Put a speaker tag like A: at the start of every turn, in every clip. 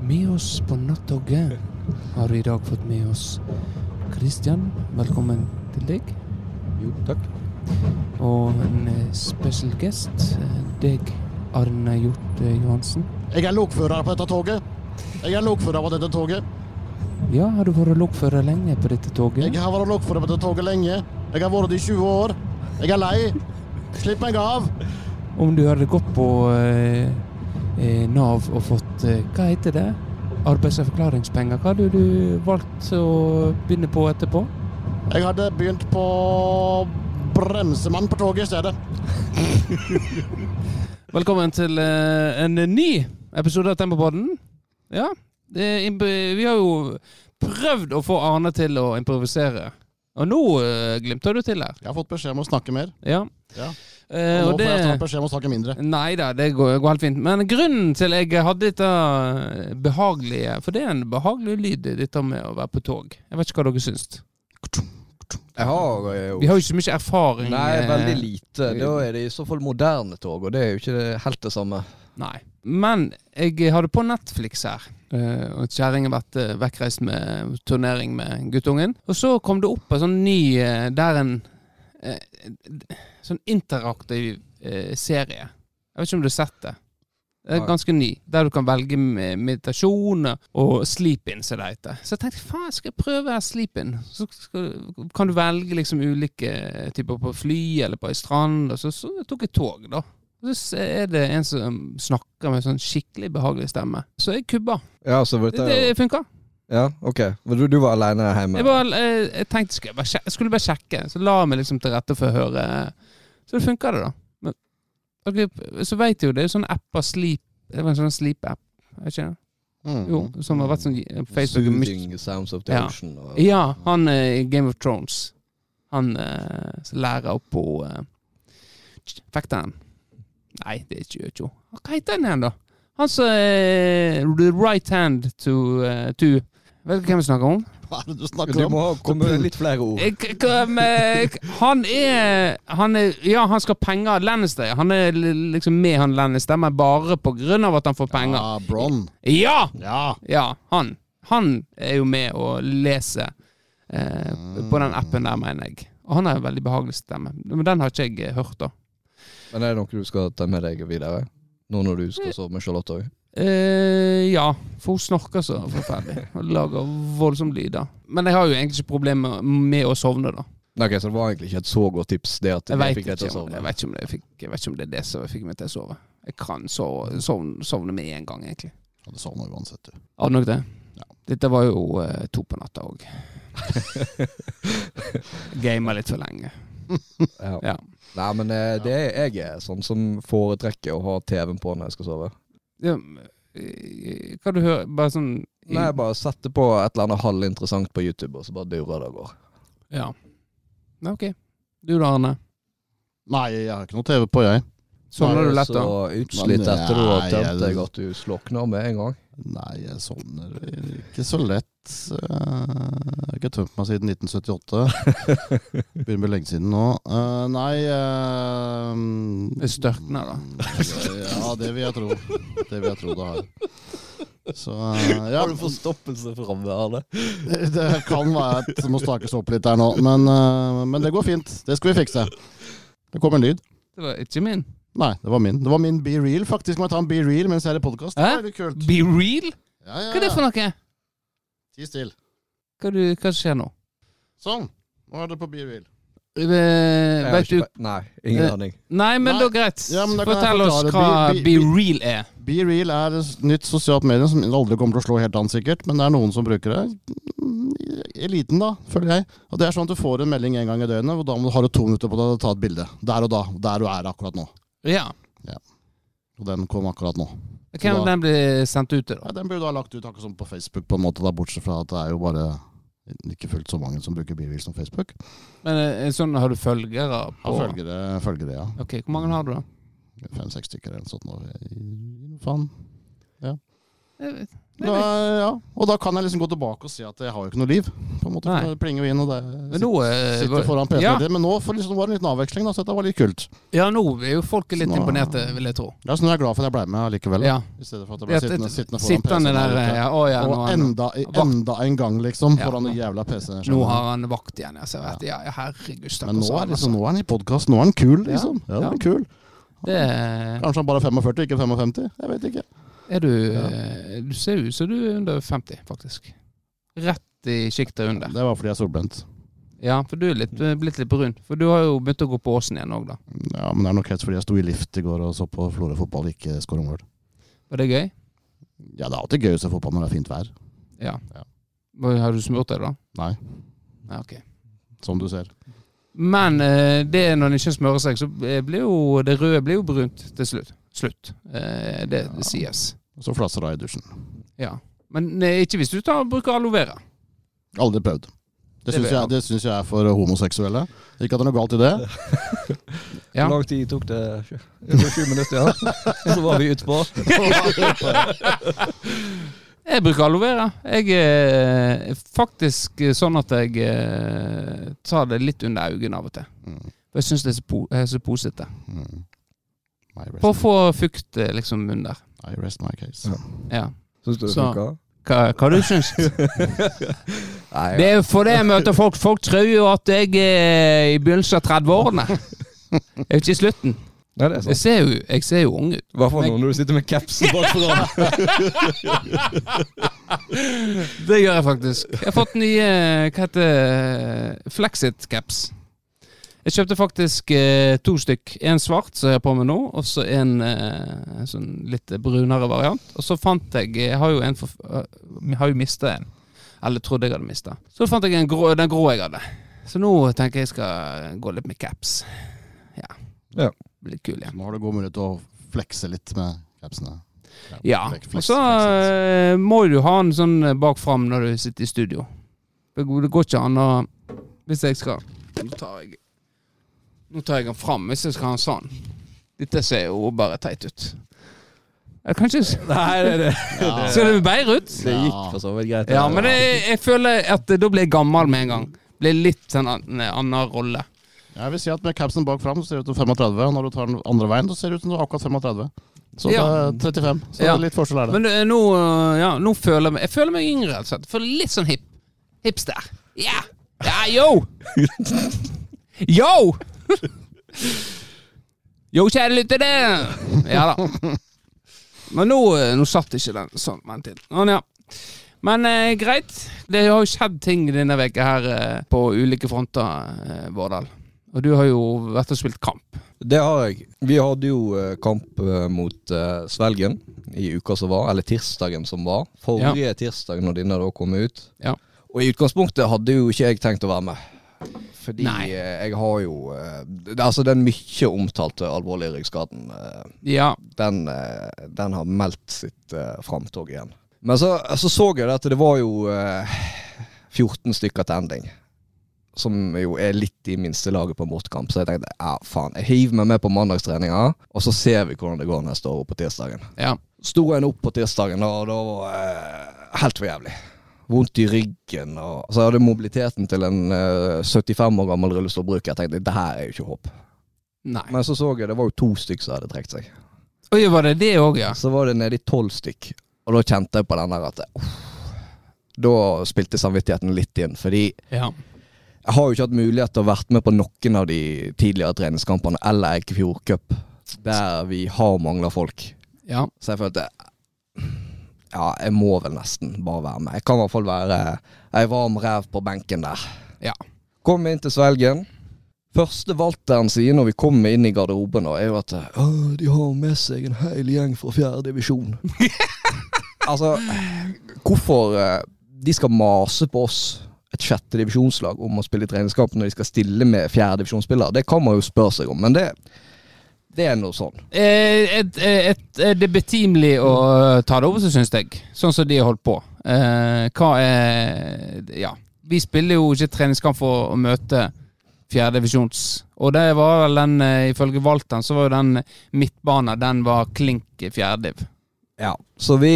A: med oss på nattoget har vi i dag fått med oss Kristian. Velkommen til deg.
B: Jo, takk.
A: Og en eh, spesiell gjest, eh, deg, Arne Hjort eh, Johansen.
C: Jeg er lokfører på dette toget. Jeg er lokfører på dette toget.
A: Ja, har du vært lokfører lenge på dette
C: Jeg
A: toget?
C: har vært lokfører på dette toget lenge. Jeg har vært det i 20 år. Jeg er lei. Slipp meg av.
A: Om du hadde gått på eh, eh, Nav og fått eh, Hva heter det? Arbeids- og forklaringspenger. Hva hadde du valgt å begynne på etterpå?
C: Jeg hadde begynt på bremsemann på toget i stedet.
A: Velkommen til eh, en ny episode av Tempopodden. Ja, det, er imp- vi har jo prøvd å få Arne til å improvisere. Og nå eh, glimter du til her.
C: Jeg har fått beskjed om å snakke mer.
A: Ja.
C: Ja.
A: Eh,
C: Og nå
A: og
C: får jeg snart
A: det,
C: beskjed om å snakke mindre.
A: nei da, det går, går helt fint. Men grunnen til jeg hadde dette eh, behagelige For det er en behagelig lyd, dette med å være på tog. Jeg vet ikke hva dere syns.
B: Jeg har eh, jo
A: Vi har jo ikke så mye erfaring.
B: Nei,
A: eh,
B: veldig lite. Da er det i så fall moderne tog, og det er jo ikke helt det samme.
A: Nei. Men jeg hadde på Netflix her. eh, Og Kjerringa har vært eh, vekkreist med turnering med guttungen. Og så kom det opp en sånn ny eh, Der en eh, d- sånn interaktiv eh, serie. Jeg vet ikke om du har sett det. Det er
B: Nei.
A: ganske ny. Der du kan velge med- meditasjon og sleep-in, som det heter. Så jeg tenkte faen, skal jeg prøve her sleep-in? Så skal, kan du velge liksom ulike typer på fly eller på ei strand. Og så, så tok jeg tog, da. Og så er det en som snakker med sånn skikkelig behagelig stemme. Så jeg kubba.
B: Ja, så
A: Det, det funka.
B: Ja, ok. Men du, du var aleine hjemme?
A: Jeg, bare, eh, jeg tenkte skulle jeg, bare sjekke, skulle bare sjekke. Så la jeg meg liksom til rette for å høre. Så det funka, det, da. Men dere- så veit jo det er sånne apper Sleep Det var en sånn Sleep-app. Er ikke det?
C: Mm.
A: Jo, som har vært sånn eh, Facebook
B: Soothing sounds of the
A: Ja.
B: ocean. Og,
A: Ja, han eh, i Game of Thrones. Han eh, som lærer opp på eh, Fekteren. Nei, det er ikke Jojo. Hva heter han igjen, da? Han som eh, The Right Hand to, eh, to Vet du hvem vi snakker om?
C: Hva er det du
B: Du
C: snakker om?
B: må ha- komme med litt flere ord.
A: Jeg- jeg- hva med- eh, Han er, han er Ja, han skal ha penger av Lannister. ja. Han er li- liksom med han Lannister, men bare på grunn av at han får penger.
C: Ja, Ah, Bron.
A: Ja!
C: Ja.
A: Ja, han. Han er jo med og leser eh, på den appen der, mener jeg. Og han har en veldig behagelig stemme. Men den har ikke jeg eh, hørt, da.
B: Men er det noe du skal ta med deg videre? Nå når du skal sove med Charlotte òg?
A: Eh, ja, for hun snorker så forferdelig. Og lager voldsomme lyder. Men jeg har jo egentlig ikke problemer med å sovne, da.
B: Nei, ok, så det var egentlig ikke et så godt tips, det at
A: Jeg
B: vi
A: vet,
B: fikk deg til
A: ikke
B: å
A: om, jeg,
B: sove.
A: vet ikke om det, jeg, fikk, jeg vet ikke om det er det som fikk meg til å sove. Jeg kan sove, sovne, sovne med en gang, egentlig.
C: Du sovner uansett, du.
A: Har du nok det?
C: Ja.
A: Dette var jo eh, to på natta òg. Gama litt for lenge.
B: Ja.
A: Ja.
B: Nei, men eh, det er jeg er sånn som foretrekker å ha TV-en på når jeg skal sove.
A: Ja, men, eh, Kan du høre Bare sånn i-
B: Nei, jeg bare setter på et eller annet halvinteressant på YouTube, og så bare durer det og går.
A: Ja. Nei, OK. Du da, Arne.
C: Nei, jeg har ikke noe TV på, jeg.
A: Sovner du
B: Er det
A: lett, da?
B: Så utslitt
C: Men
B: etter du har
C: nei,
B: tømt
C: er det-
B: deg at du slokner med en gang.
C: Nei, jeg sovner ikke så lett. Eh, Jeg har ikke tømt meg siden 1978. Begynner å bli lenge siden nå. Eh, Nei eh,
A: Det størkner, da.
C: Ja, det vil jeg tro. Det vil jeg tro det har. Så eh, ja,
B: forstoppelse framme, Arne?
C: det kan være at det må stakes opp litt der nå. Men, eh, men det går fint. Det skal vi fikse. Det kom en lyd.
A: Det var ikke min.
C: Nei, det var min. Det var min Be Real, faktisk. Må jeg ta en Be Real mens jeg er i podkast?
A: Hæ? Be real?
C: Ja, ja,
A: Hva er det for
C: ja.
A: noe?
C: Ti still.
A: Hva, du, hva skjer nå?
C: Sånn. Nå er det på Be Real.
A: Eh, Vet du
B: Nei,
A: Eh,
B: ingen aning.
A: Nei, men
C: Nei.
A: da greit.
C: Ja, men da kan jeg
A: Fortell oss hva
C: forklare.
A: Be,
C: Be- be-
A: Real er.
C: Be Real er et nytt sosialt medie som aldri kommer til å slå helt an, sikkert. Men det er noen som bruker det. Mm, Eliten, da, føler jeg. Og det er sånn at du får en melding en gang i døgnet, og da må du ha to minutter på deg til å ta et bilde. Der og da. Der du er akkurat nå.
A: Ja.
C: Og den kom akkurat nå.
A: Hvem
C: Da-
A: den blir sendt ut til, da?
C: Ja, den blir jo da lagt ut akkurat som på Facebook, på en måte, da, bortsett fra at det er jo bare ikke fullt så mange som bruker Be Real som Facebook.
A: Men eh, sånn har du følgere på
C: Har følgere, følgere, ja.
A: Ok, Hvor mange har du, da?
C: Fem-seks stykker eller noe sånt. nå. Faen.
A: Jeg vet.
C: Da, ja. Og da kan jeg liksom gå tilbake og si at jeg har jo ikke noe liv. På en måte,
A: Nei.
C: for det plinger jo inn, og det
A: Men nå, eh,
C: sitter
A: var-
C: foran PC-en
A: ja.
C: din. Men nå får liksom, var det en liten avveksling, da, så dette var litt kult.
A: Ja, nå er jo folk litt
C: Nå-
A: imponerte, vil jeg tro.
C: Ja, så nå er jeg glad for at jeg ble med likevel. Da.
A: Ja.
C: I stedet for at jeg ble
A: Det-
C: sittende,
A: det-
C: sittende foran
A: Sittende
C: PC-en.
A: der, eh,
C: hele tiden.
A: ja. Å ja, nå,
C: og
A: er han-
C: enda, i- enda en gang, liksom,
A: Ja.
C: foran den jævla PC-en.
A: nå har han vakt igjen. Jeg ser at, ja, ja, herregud,
C: Men
A: stakkars
C: nå er,
A: han, altså.
C: liksom, nå er han i podkast, nå er han kul, liksom. Ja,
A: Ja.
C: han er kul.
A: Det
C: Kanskje han bare er 45, ikke 55? Jeg vet ikke.
A: er du eh, Du ser ut som du er under 50, faktisk. Rett i sjiktet under.
C: Det var fordi jeg er solbrent.
A: Ja, for du er litt, eh, blitt litt brun. For du har jo begynt å gå på åsen igjen òg, da.
C: Ja, men det er nok helt fordi jeg sto i lift i går og så på Florø fotball, ikke skåre mål.
A: Var det gøy?
C: Ja, det er alltid gøy å se fotball når det er fint vær.
A: Ja.
C: Ja.
A: Hva- Har du smurt deg, da?
C: Nei,
A: Nei, ok.
C: som du ser.
A: Men eh, det når en ikke smører seg, så blir jo det røde blir jo brunt til slutt. Slutt. Eh, det,
C: Ja.
A: det sies.
C: Og så flasser det i dusjen.
A: Ja. Men eh, ikke hvis du tar, bruker aloe vera.
C: Aldri prøvd. Det
A: Det
C: syns
A: vet
C: jeg,
A: jeg.
C: det syns jeg er for eh, homoseksuelle. Ikke at det er noe galt i det.
A: Ja.
B: Hvor lang tid tok det? Det var sju minutter, ja. Så var vi utpå.
A: Jeg bruker aloe vera. Jeg eh, er faktisk eh, sånn at jeg eh, tar det litt under øynene av og til.
C: Mm.
A: For jeg syns det er så, po er så posete.
C: Mm. I, rest,
A: For å få fukt eh, liksom under.
C: I rest my case.
B: Ja.
A: Ja.
B: Syns du det
A: Så-
B: funka?
A: Hva, hva du syns du?
B: Nei,
A: Det er jo for det jeg møter folk. Folk tror jo at jeg er i begynnelsen av 30-årene. Jeg er jo ikke i slutten.
B: Nei, det er
A: Jeg
B: sant.
A: ser jo, jeg ser jo ung ut.
B: I hvert fall nå når du sitter med capsen bakfra.
A: Det gjør jeg faktisk. Jeg har fått nye Hva heter Flexit-caps. Jeg kjøpte faktisk eh, to stykk. En svart som jeg har på meg nå, og så en eh, sånn litt brunere variant. Og så fant jeg Jeg har jo en for, eh, jeg har jo mista en. Eller trodde jeg hadde mista. Så fant jeg en grå, den grå jeg hadde. Så nå tenker jeg jeg skal gå litt med caps. Ja.
B: Ja.
A: Blir litt kul igjen.
C: Nå har du god mulighet til å flekse litt med capsene.
A: Ja.
C: flek- fleks-
A: Og så
C: flekse litt.
A: eh, må du ha en sånn eh, bak fram når du sitter i studio. Det går det går ikke an å Hvis jeg skal Nå tar jeg Nå tar jeg den fram hvis jeg skal ha en sånn. Dette ser jo bare teit ut. Jeg kan ikke s-
B: Nei, det, det,
C: Ja.
A: Ser det bedre ut?
B: det gikk for så vidt greit.
A: Ja, men det, jeg føler at eh, da blir jeg gammel med en gang. Blir litt sånn en annen, annen rolle.
C: Jeg vil si at med capsen bak fram så ser det ut som 35, og når du tar den andre veien, så ser det ut som du er akkurat 35. Så
A: Ja.
C: det er 35. Så
A: Ja.
C: litt forskjell er det.
A: Men eh, nå, eh, ja, nå føler jeg meg Jeg føler meg yngre, altså. Jeg føler litt sånn hip. Hipster. Ja! Ja, yo! Yo! Yo, kjære lyttere! Ja da. Men nå, eh, nå satt ikke den sånn. Men, til. Men, ja. Men eh, greit. Det har jo skjedd ting denne veka her eh, på ulike fronter, eh, Vårdal. Og du har jo vært og spilt kamp.
B: Det har jeg. Vi hadde jo eh, kamp eh, mot eh, Svelgen i uka som var, eller tirsdagen som var. Forrige tirsdag når denne da kom ut.
A: Ja.
B: Og i utgangspunktet hadde jo ikke jeg tenkt å være med. Fordi
A: Nei.
B: eh, jeg har jo eh, det- Altså den mye omtalte alvorlige ryggskaden, eh,
A: Ja.
B: den, eh, den har meldt sitt eh, framtog igjen. Men så så, så jeg det at det var jo eh, 14 stykker til ending. Som jo er litt i minstelaget på bortkamp. Så jeg tenkte ja, faen, jeg hiver meg med på mandagstreninga, og så ser vi hvordan det går neste år på tirsdagen.
A: ja.
B: Sto en opp på tirsdagen, da, og da var eh, helt for jævlig. Vondt i ryggen, og så hadde jeg mobiliteten til en eh, 75 år gammel rullestolbruker. Jeg tenkte det her er jo ikke håp.
A: Nei.
B: Men så så jeg det var jo to stykker som hadde trukket seg.
A: Oi, var det det òg, ja?
B: Så var det nede i tolv stykk, og da kjente jeg på den der at uff, Da spilte samvittigheten litt inn, fordi
A: ja?
B: jeg har jo ikke hatt mulighet til å vært med på noen av de tidligere treningskampene eller Eikefjord Cup, der vi har mangla folk.
A: Ja.
B: Så jeg følte Ja, jeg må vel nesten bare være med. Jeg kan i hvert fall være ei varm ræv på benken der.
A: Ja.
B: Kom inn til Svelgen. Første valteren sier når vi kommer inn i garderoben, da, er jo at Å, de har med seg en hel gjeng fra fjerde divisjon. altså, hvorfor eh, de skal mase på oss, et sjette divisjonslag, om å spille i treningskamp når de skal stille med fjerde divisjonsspillere, det kan man jo spørre seg om, men det, det er nå sånn.
A: Eh, et, et, et, det er betimelig å eh, ta det over, så syns jeg. Sånn som de har holdt på. Eh, hva er Ja. Vi spiller jo ikke treningskamp for å møte fjerdedivisjons. Og det var vel den, eh, ifølge Valten, så var jo den midtbanen, den var klink i fjerdediv.
B: Ja, så vi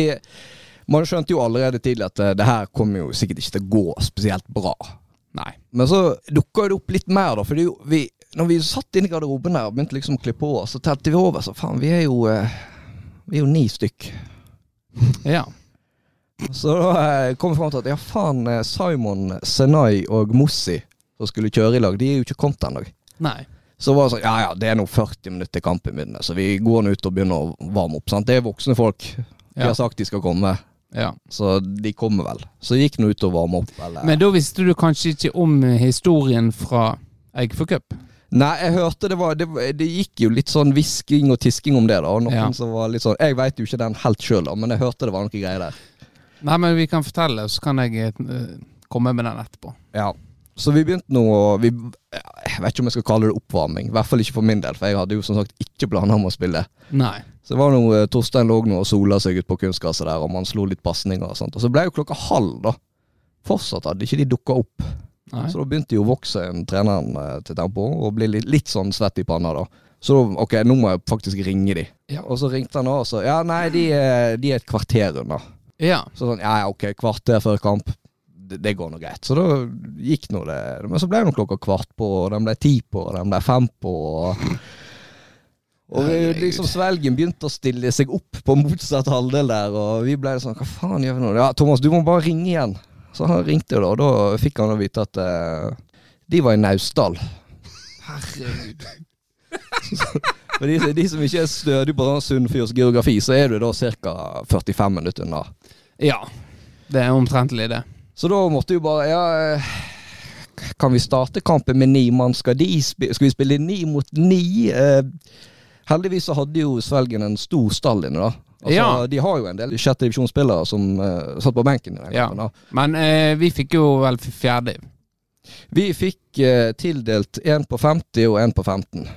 B: Man skjønte jo allerede tidlig at eh, det her kommer jo sikkert ikke til å gå spesielt bra.
A: Nei.
B: Men så dukka det opp litt mer, da. For det er jo, vi, når vi satt inne i garderoben her og begynte liksom å kle på oss, så telte vi over. Så faen, vi er jo eh, Vi er jo ni stykk.
A: Ja.
B: Så da eh, kom vi fram til at ja, faen, eh, Simon, Senai og Mossi som skulle kjøre i lag, de er jo ikke kommet ennå.
A: Nei.
B: Så var det sånn, ja ja, det er nå 40 minutter til kampen begynner, så vi går nå ut og begynner å varme opp. sant? Det er voksne folk. De
A: Ja.
B: har sagt de skal komme,
A: Ja.
B: så de kommer vel. Så gikk nå ut og varme opp. Eller?
A: Men da visste du kanskje ikke om historien fra Eggfor Cup?
B: Nei, jeg hørte det var det, var- det gikk jo litt sånn hvisking og tisking om det, da. og Noen
A: Ja.
B: som var litt sånn Jeg veit jo ikke den helt sjøl, da, men jeg hørte det var noe greier der.
A: Nei, men vi kan fortelle, så kan jeg eh, komme med den etterpå.
B: Ja. Så vi begynte nå å vi, Jeg vet ikke om jeg skal kalle det oppvarming. I hvert fall ikke for min del, for jeg hadde jo som sagt ikke planer om å spille.
A: Nei.
B: Så det var noe, eh, Torstein lå nå og sola seg ut på kunstkassa der, og man slo litt pasninger og sånt. Og så ble jo klokka halv, da. Fortsatt hadde ikke de dukka opp.
A: Nei.
B: Så da begynte jo voksen treneren eh, til Tempo å bli litt, litt sånn svett i panna, da. Så da, ok, nå må jeg faktisk ringe de.
A: Ja.
B: Og så ringte han da, og så Ja, nei, de, er- de er et kvarter unna.
A: Ja.
B: Så sånn, ja, ja, ok, kvarter før kamp. Det, det går nå greit. Så da gikk nå det. Men så ble det nå klokka kvart på, og den ble ti på, og den ble fem på. Og, og vi,
A: Herregud.
B: liksom Svelgen begynte å stille seg opp på motsatt halvdel der, og vi ble sånn, hva faen gjør vi nå? Ja, Thomas, du må bare ringe igjen. Så han ringte jo da, og da fikk han å vite at eh, de var i Naustdal.
A: Herregud.
B: For de, de som ikke er stødige på sånn Sunnfjords geografi, så er du da ca. 45 minutter unna.
A: Ja. Det er omtrentlig det.
B: Så da måtte jo bare Ja, eh, kan vi starte kampen med ni mann? Skal, de spi- skal vi spille ni mot ni? Eh, heldigvis så hadde jo Svelgen en stor stall inne, da. Altså,
A: Ja.
B: De har jo en del sjette divisjonsspillere som eh, satt på benken. i den
A: Ja.
B: kampen, da.
A: Men eh, vi fikk jo vel fjerde.
B: Vi fikk eh, tildelt én på 50 og én på 15.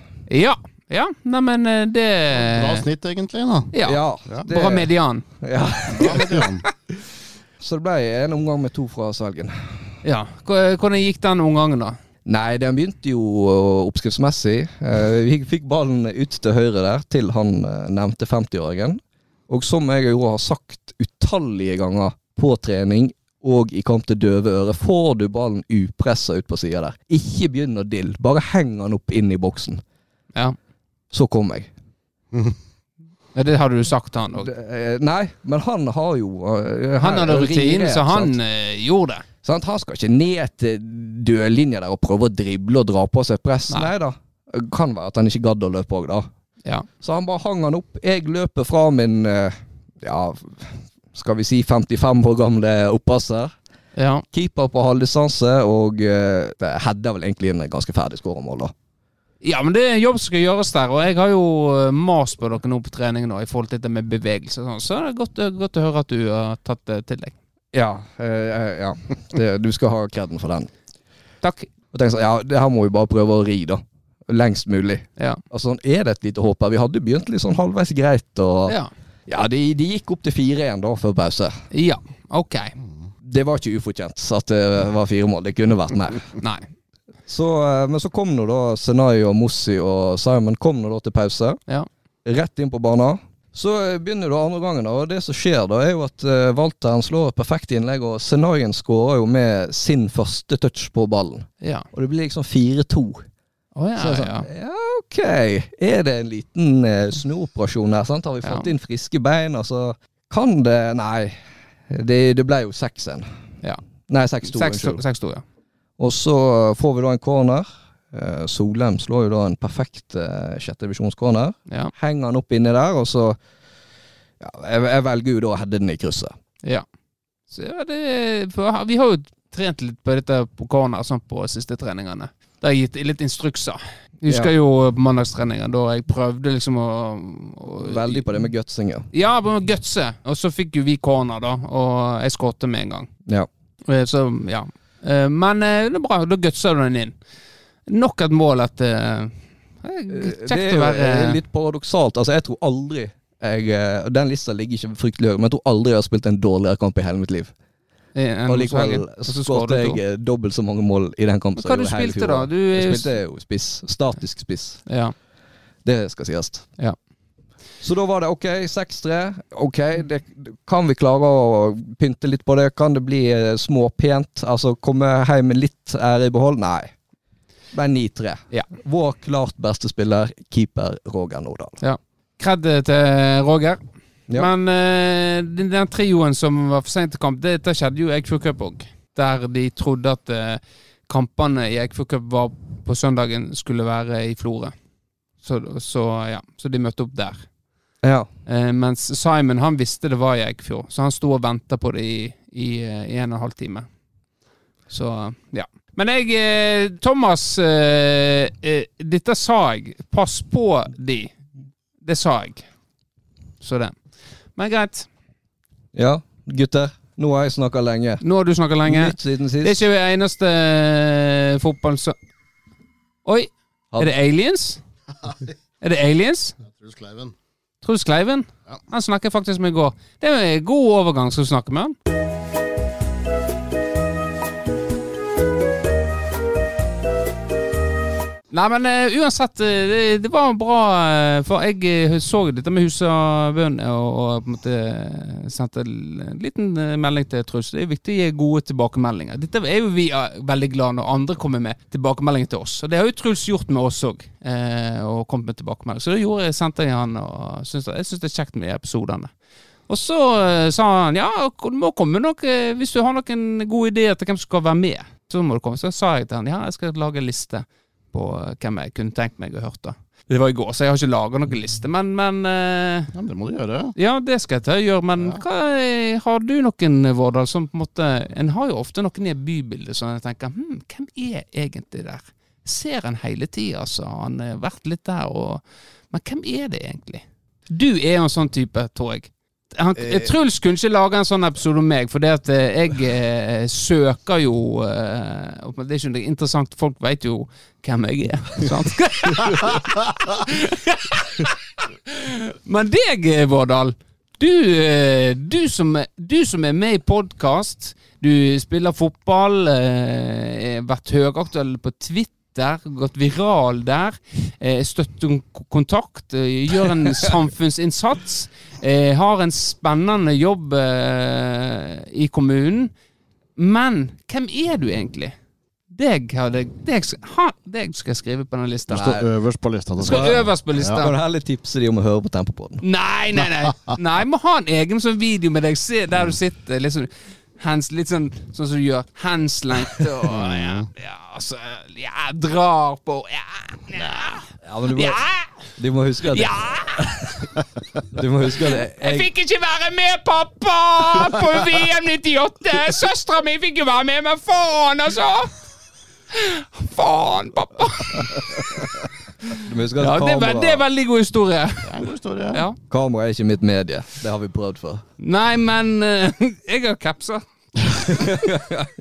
A: Ja. Ja, neimen eh, det
C: Bra snitt, egentlig. da.
A: Ja.
C: Ja,
B: det-
A: Bra median.
B: ja.
C: Bra med Jan.
B: Så det ble en omgang med to fra Svelgen.
A: Ja. Hva- Hvordan gikk den omgangen, da?
B: Nei, den begynte jo eh, oppskriftsmessig. Eh, Vi fikk ballen ut til høyre der, til han eh, nevnte 50-åringen. Og som jeg jo har sagt utallige ganger på trening og i kamp til døve øre, får du ballen upressa ut på sida der. Ikke begynn å dille, bare heng han opp inn i boksen.
A: Ja.
B: Så kom jeg.
A: Ja, Det hadde du sagt til han òg.
B: Det, eh, Nei, men han har jo eh,
A: Han
B: her-
A: hadde rutinen,
B: ringrett,
A: så han
B: sant?
A: eh, gjorde det.
B: Sant? Han skal ikke ned til dødlinja der og prøve å drible og dra på seg press.
A: Nei.
B: Nei da. Kan være at han ikke gadd å løpe òg, da.
A: Ja.
B: Så han bare hang han opp. Jeg løper fra min eh, ja, skal vi si 55 år gamle oppasser.
A: ja.
B: Keeper på halvdistanse, og eh, det header vel egentlig inn et ganske ferdig skåremål, da.
A: Ja, men det er en jobb som skal gjøres der, og jeg har jo eh, mast på dere nå på trening nå i forhold til det med bevegelse og sånn, så det er godt, godt å høre at du har tatt det til deg.
B: Ja. eh, ja. Det, du skal ha kreden for den.
A: Takk.
B: Og tenk sånn, ja, det her må vi bare prøve å ri, da. Lengst mulig.
A: Ja.
B: Og sånn er det et lite håp her. Vi hadde begynt litt sånn halvveis greit, og
A: Ja.
B: Ja, de, de gikk opp til 4-1 da, før pause.
A: ja. Ok.
B: Det var ikke ufortjent at det var fire mål. Det kunne vært mer.
A: Nei.
B: Så, eh, men så kom nå da Senai og Mossi og Simon kom nå da til pause.
A: Ja.
B: Rett inn på banen. Så eh, begynner da andre gangen, da, og det som skjer da, er jo at eh, Walteren slår et perfekt innlegg, og Senaien skårer jo med sin første touch på ballen.
A: Ja.
B: Og det blir liksom 4-2.
A: Å
B: Så
A: ja,
B: er det
A: ja.
B: sånn, ja, ok. Er det en liten eh, snuoperasjon her? sant? Har vi fått
A: Ja.
B: inn friske bein? Altså, kan det Nei. Det, det ble jo 6-1.
A: Ja.
B: Nei, 6-2.
A: Seks
B: unnskyld.
A: seks to, ja.
B: Og så får vi da en corner. Eh, Solheim slår jo da en perfekt eh, sjette divisjonscorner.
A: Ja.
B: Henger han opp inni der, og så ja, jeg, jeg velger jo da å heade den i krysset.
A: ja. Så ja, det for, Vi har jo trent litt på dette på corner sånn på siste treningene. Det har gitt litt instrukser. Jeg husker jo på mandagstreningen da jeg prøvde liksom å, å
B: Veldig på det med gutsing, ja.
A: Ja, på gutse. Og så fikk jo vi corner, da, og jeg skåret med en gang.
B: ja.
A: Eh, Så, ja. Eh, Men eh, det er bra, da gutser du den inn. Nok et mål at eh,
B: Det
A: Kjekt
B: er
A: å
B: jo
A: være
B: eh, litt paradoksalt. Altså, jeg tror aldri jeg, eh, og Den lista ligger ikke fryktelig høyt, men jeg tror aldri jeg har spilt en dårligere kamp i hele mitt liv.
A: eh, en
B: Og likevel
A: Rosenhagen, og
B: så
A: så
B: skåret
A: skårer du
B: jeg
A: to.
B: eh, dobbelt så mange mål i den
A: Men
B: kampen. som
A: Hva
B: jeg
A: du
B: gjorde hele
A: spilte da?
B: fjoråret.
A: Du er
B: Jeg
A: jo
B: spilte jo spiss. Statisk spiss.
A: Ja.
B: Det skal sies.
A: Ja.
B: Så da var det ok, 6-3. Ok, det, kan vi klare å pynte litt på det? Kan det bli eh, småpent? Altså komme hjem med litt ære i behold? Nei. Det er 9-3.
A: Ja.
B: Vår klart beste spiller, keeper Roger Nordahl.
A: Kred til Roger.
B: Ja.
A: Men eh, den, den trioen som var for sent til kamp, det, det skjedde jo i Eikfjord Cup òg. Der de trodde at eh, kampene i Eikfjord Cup var på søndagen skulle være i Florø. Så, så ja, så de møtte opp der.
B: Ja.
A: Eh, mens Simon han visste det var i Eikfjord, så han sto og venta på det i, i, eh, i en og en halv time. Så eh, ja. Men jeg eh, Thomas, eh, eh, dette sa jeg. Pass på de. Det sa jeg. Så det. Men greit.
B: ja. Gutter, nå har jeg snakka lenge.
A: Nå har du snakka lenge.
B: Nytt siden
A: Det er
B: sist.
A: ikke det eneste eh, fotball som Oi! Er det aliens? Er det aliens?
C: Truls Kleiven.
A: Truls Kleiven.
C: Ja.
A: Han snakker faktisk med i går. Det er en god overgang, skal du snakke med han? Nei, men eh, uansett, eh, det, det var bra eh, For jeg eh, så dette med Husabøen og, og på en måte eh, sendte en liten eh, melding til Truls. Det er viktig å gi gode tilbakemeldinger. Dette er jo vi eh, veldig glad når andre kommer med tilbakemeldinger til oss. Og det har jo Truls gjort med oss òg. Eh, og kommet med tilbakemeldinger. Så det gjorde jeg, sendte jeg han, og syns, jeg syns det er kjekt med de episodene. Og så eh, sa han ja, du må komme nok eh, hvis du har noen gode ideer til hvem som skal være med. Så må du komme. Så sa jeg til han ja, jeg skal lage en liste på eh, hvem jeg kunne tenkt meg å høre. da. Det var i går, så jeg har ikke laga noen liste. Men, men eh,
C: Ja, men det må du gjøre.
A: ja, det skal jeg ta og gjøre, men
C: Ja.
A: hva, er- har du noen, Vårdal, som på en måte En har jo ofte noen i bybildet som en tenker hm, hvem er egentlig der? Ser en hele tida, altså. Han har vært litt der, og Men hvem er det egentlig? Du er jo en sånn type, tror jeg. Han,
B: Eh.
A: Truls kunne ikke lage en sånn episode om meg, fordi at eh, jeg eh, søker jo eh, og Det er ikke noe interessant, folk veit jo hvem jeg er. Sant? Men deg, eh, Vårdal. Du, eh, du, som, du som er med i podkast, du spiller fotball, eh, har vært høyaktuell på Twitter, gått viral der, eh, støtter kontakt, eh, gjør en samfunnsinnsats, eh, har en spennende jobb eh, i kommunen. Men hvem er du egentlig? Deg, har deg, deg, sk- ha, deg skal jeg skrive på den
C: Du
A: lista.
C: står øverst på lista. til
A: Skal
C: Truls.
A: øverst på lista.
C: Ja.
B: Kan du heller tipse de om å høre på Tempopodden?
A: Nei, nei, nei. Nei, må ha en egen sånn video med deg. Se der du sitter. Litt sånn, hands, litt sånn, sånn som du gjør. Handslengt og ja, ja, altså, ja, drar på Ja, ja,
B: Ja, men du må,
A: ja,
B: du må huske at
A: ja.
B: Du må huske at
A: Jeg
B: jeg,
A: fikk ikke være med, pappa, på VM 98! Søstera mi fikk jo være med, men faen, altså! Faen, pappa!
B: du må huske at
A: Ja, det, er, ve- det er
B: kamera,
A: veldig god historie.
C: Det er en god historie.
A: Ja.
B: kamera er ikke mitt medie. Det har vi prøvd før.
A: Nei, men eh, jeg har kapsa.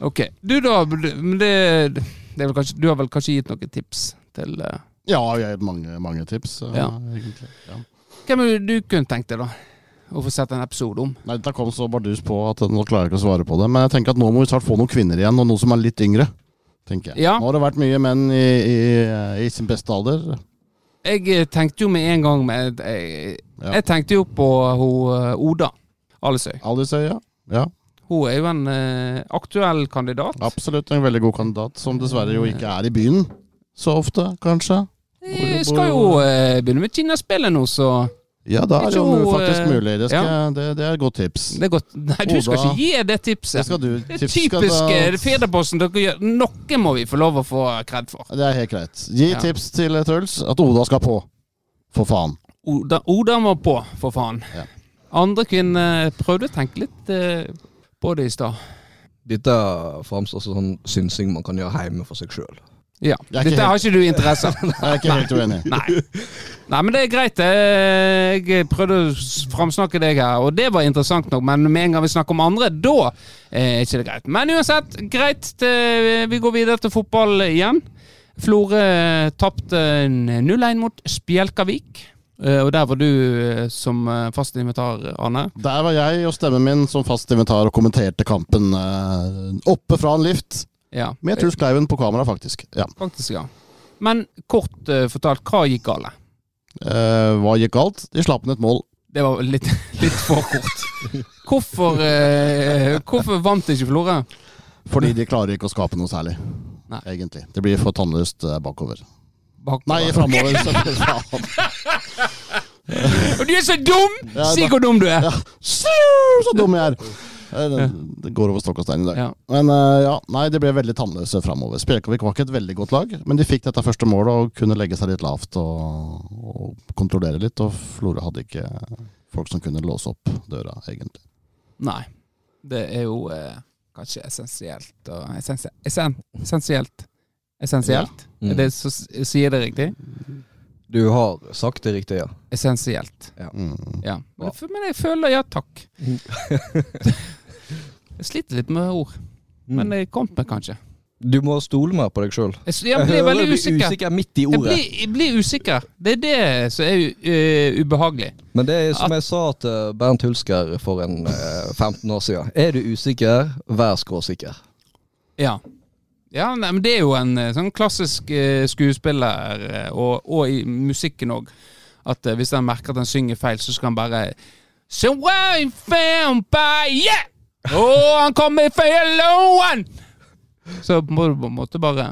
A: ok. Du, da. du- Men det, det er vel kanskje, du har vel kanskje gitt noen tips til eh,
C: Ja, jeg har gitt mange, mange tips. eh,
A: Ja.
C: egentlig. Ja.
A: Hvem er det du kunne tenkt deg, da? Å få sett en episode om?
C: Nei, Dette kom så bardus på at nå klarer jeg ikke å svare på det. Men jeg tenker at nå må vi snart få noen kvinner igjen, og noen som er litt yngre. tenker jeg.
A: Ja.
C: Nå har det vært mye menn i, i, i sin beste alder.
A: Jeg eh, tenkte jo med en gang med Jeg,
C: Ja.
A: jeg tenkte jo på hun eh, Oda Alesøy.
C: Alisøya. Ja,
A: Hun er jo en eh, aktuell kandidat.
C: absolutt en veldig god kandidat, som dessverre jo ikke er i byen så ofte, kanskje.
A: Jeg skal jo eh, begynne med Kinaspillet nå, så
C: Ja, da er det
A: Jeg
C: jo
A: tror,
C: faktisk
A: eh,
C: mulig. Det, skal, det, det er et godt tips.
A: Det er godt. Nei, du skal
C: Oda.
A: ikke gi det
C: Det
A: tipset.
C: skal du
A: Det er
C: tips skal
A: typisk
C: da-
A: eh, det er Federposten dere gjør. Noe må vi få lov å få kred for.
C: Det er helt greit. Gi
A: Ja.
C: tips til eh, Truls at Oda skal på. For faen.
A: Oda, Oda må på, for faen.
C: Ja.
A: Andre kvinner prøvde å tenke litt eh, på det i stad.
B: Dette framstår som sånn synsing man kan gjøre hjemme for seg sjøl.
A: Ja.
C: Jeg er ikke
A: Dette har ikke du interesse av.
C: Jeg er ikke helt uenig.
A: Nei. Nei, men det er greit. det. Jeg prøvde å s- framsnakke deg her, og det var interessant nok, men med en gang vi snakker om andre, da eh, er ikke det greit. Men uansett, greit. det- Vi går videre til fotball igjen. Florø eh, tapte 0-1 mot Spjelkavik. eh, Og der var du eh, som eh, fast invitar, Arne.
C: Der var jeg og stemmen min som fast inventar og kommenterte kampen eh, oppe fra en lift.
A: Ja,
C: Med Truls Kleiven på kamera, faktisk. Ja.
A: faktisk, ja. Men kort eh, fortalt, hva gikk galt?
C: Eh, hva gikk galt? De slapp inn et mål.
A: Det var litt, litt for kort. Hvorfor, eh, hvorfor vant ikke Florø?
C: Fordi de klarer ikke å skape noe særlig.
A: Nei.
C: Egentlig. Det blir for tannløst eh, bakover.
A: Bak-
C: Nei, framover. så- faen.
A: Og du er så dum!
C: Ja,
A: Si
C: da-
A: hvor dum du er!
C: Ja. Siu, Så dum jeg er! Eh, Det, det går over stokk og stein i dag.
A: Ja.
C: Men eh, ja, nei, det ble veldig tannløse framover. Spjelkavik var ikke et veldig godt lag, men de fikk dette første målet og kunne legge seg litt lavt og, og kontrollere litt. Og Florø hadde ikke folk som kunne låse opp døra, egentlig.
A: Nei. Det er jo eh, kanskje essensielt og essensi essen Essensielt. Essensielt?
B: Ja.
A: Er det så, sier jeg det riktig?
B: Du har sagt det riktig, ja.
A: Essensielt.
C: Mm.
A: Ja. Men, jeg f- men jeg føler ja takk. jeg sliter litt med ord, men jeg kom med kanskje.
B: Du må stole mer på deg sjøl.
A: Jeg, s- jeg blir veldig usikker.
B: usikker midt i
A: Jeg
B: ordet.
A: blir, jeg blir usikker. Det er det som er u- eh, ubehagelig.
B: Men det er som jeg sa til Bernt Hulsker for en eh, 15 år siden. Er du usikker, vær skråsikker.
A: Ja. Ja, nei, men Det er jo en eh, sånn klassisk eh, skuespiller, eh, og, og i musikken òg, at eh, hvis han merker at han synger feil, så skal han bare Somewhere in vampire! Oh, han kommer fra yellow one! Så må du på en måte bare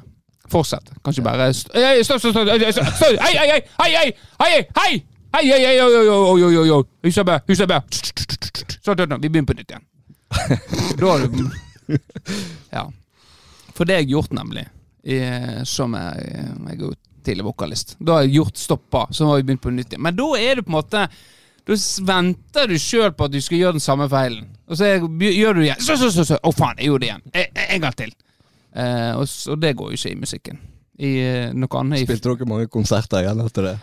A: fortsette. Kanskje bare st- Ei, ei, Stopp, stopp, stopp! ei, ei, stopp, stopp, Hei, hei, hei! Hei, hei! Hei, hei! Hei, hei, hei, hei, oi, oi, oi, oi, oi, oi! Husabø, husabø! Sånn, sånn, sånn. Vi begynner på nytt igjen. Da har du Ja. For det har jeg gjort, nemlig. I, som jeg, jeg er jo tidlig vokalist. Da har jeg gjort stoppa, så har vi begynt på nytt igjen. Men da er det på en måte Da s- venter du sjøl på at du skal gjøre den samme feilen. Og så er, by- gjør du det igjen. Så, så, så, så. Å, faen, jeg gjorde det igjen. En, en gang til. Eh, og, s- og det går jo ikke i musikken. I eh, noe annet. i-
B: Spilte dere mange konserter igjen etter det?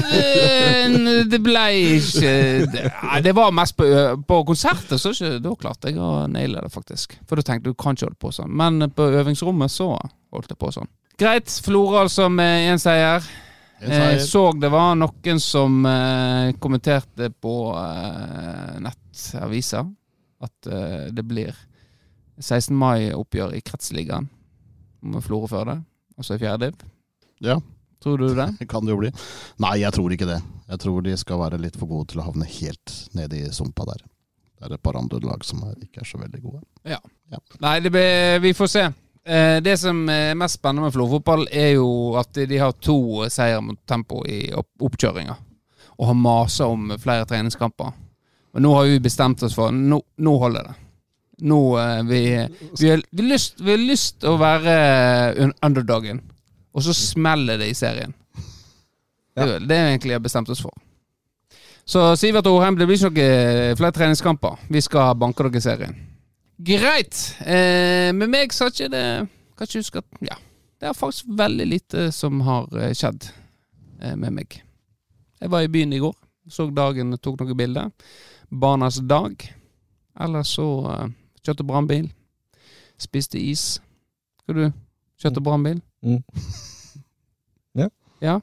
A: Eh, n- det ble ikke det, nei, det var mest på, ø- på konserter, så ikke, da klarte jeg å naile det, faktisk. For da tenkte jeg du kan ikke holde på sånn. Men på øvingsrommet så holdt jeg på sånn. Greit. Flora altså med én seier.
C: En
A: Jeg
C: seier.
A: så det var noen som eh, kommenterte på eh, nettaviser at eh, det blir 16. mai-oppgjør i Kretsligaen med Florø før det, altså i fjerde div.
C: Ja.
A: Tror du det?
C: Det kan det jo bli. Nei, jeg tror ikke det. Jeg tror de skal være litt for gode til å havne helt nede i sumpa der. Det er et par andre lag som er, ikke er så veldig gode.
A: Nei, det blir, vi får se. Eh, Det som er mest spennende med Florfotball, er jo at de har to seier mot Tempo i opp- oppkjøringa. Og har masa om flere treningskamper. Men nå har vi bestemt oss for Nå, nå holder det. Nå eh, vi, vi, har, vi, har lyst, vi har lyst til å være un- underdogen. Og så smeller det i serien. Det, er- det er egentlig jeg har bestemt oss for. Så Sivert og Orheim, det blir ikke noe eh, flere treningskamper. Vi skal banke dere i serien. Greit. Eh, med meg så har ikke det Kan ikke huske at Ja. Det er faktisk veldig lite som har eh, skjedd eh, med meg. Jeg var i byen i går. Så dagen, tok noen bilder. Barnas dag. Ellers så eh, kjørte brannbil. Spiste is. Skal du kjørte brannbil?
B: Mm. Ja.
A: Ja?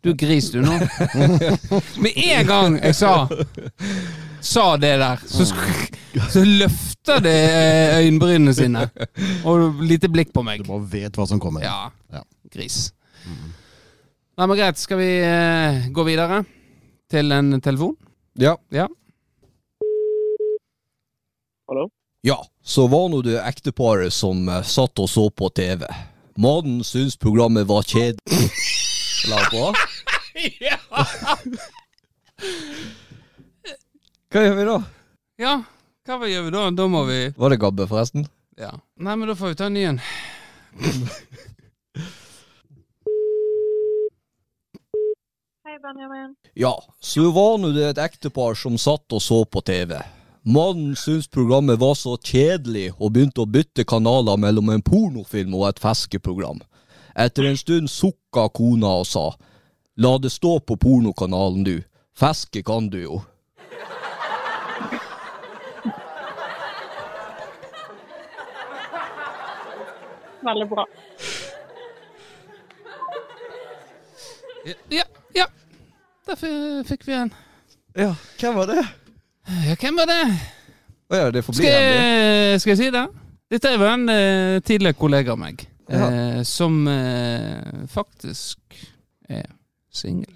A: Du er gris, du nå. Med en gang jeg sa Sa det der, så, sk-
B: Mm.
A: så løfter det eh, øyenbrynene sine. Og lite blikk på meg.
C: Du bare vet hva som kommer.
A: Ja. Mm.
C: Ja.
A: Gris. Nei, men greit. Skal vi eh, gå videre til en telefon?
B: Ja.
A: Ja.
D: Hallo?
B: Ja, så var nå det ekteparet som eh, satt og så på TV. Mannen syntes programmet var kjedelig. La han på. Hva gjør vi da?
A: Ja, hva vi gjør vi da? Da må vi
B: Var det Gabbe, forresten?
A: Ja. Nei, men da får vi ta en ny en.
E: Hei, Benjamin.
B: Ja, så var nå det et ektepar som satt og så på TV. Mannen syntes programmet var så kjedelig og begynte å bytte kanaler mellom en pornofilm og et feskeprogram. Etter en stund sukka kona og sa La det stå på pornokanalen, du. Feske kan du jo.
E: Veldig bra.
A: Ja, ja. Der fi- fikk vi en.
B: Ja, hvem var det?
A: Ja, hvem var det?
B: Å ja, det får bli
A: Skal
B: hemmelig.
A: jeg, skal jeg si det? Dette er jo en eh, tidligere kollega av meg, eh, som eh, faktisk er singel.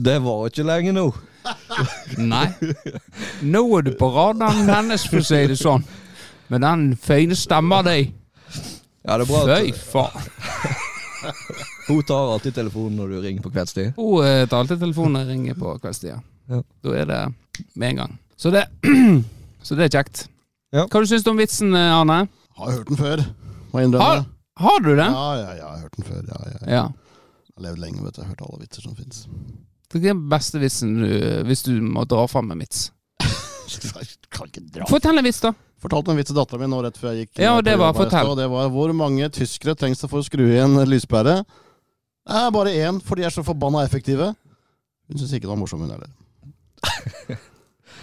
B: Det var ikke lenge nå.
A: Nei. Nå er du på radaren hennes, for å si det sånn. Med den fine stemma di.
B: Ja, det er bra
A: Fy
B: at
A: faen.
B: Hun tar alltid telefonen når du ringer på kveldstid.
A: Hun eh, tar alltid telefonen når jeg ringer på kveldstida.
B: Ja.
A: Da er det med en gang. Så det, så det er kjekt.
B: Ja.
A: Hva du syns du om vitsen, eh, Arne?
C: Har hørt den før, må jeg innrømme.
A: Har, har du det?
C: Ja, ja, ja, jeg har hørt den før. Ja, ja. Jeg
A: Ja.
C: har levd lenge, vet du. Jeg har hørt alle vitser som fins.
A: Det er den beste vitsen du, hvis du må dra fram en vits.
C: Kan ikke dra
A: Fortell en vits, da.
C: Fortalte en vits til dattera mi nå rett før jeg gikk.
A: Ja,
C: eh,
A: og det
C: på
A: var-
C: jobb her i
A: fortell.
C: stad, og Det var hvor mange tyskere trengs det for å skru igjen lyspære? Det er bare én, for de er så forbanna effektive. Hun syns ikke det var morsom, hun heller.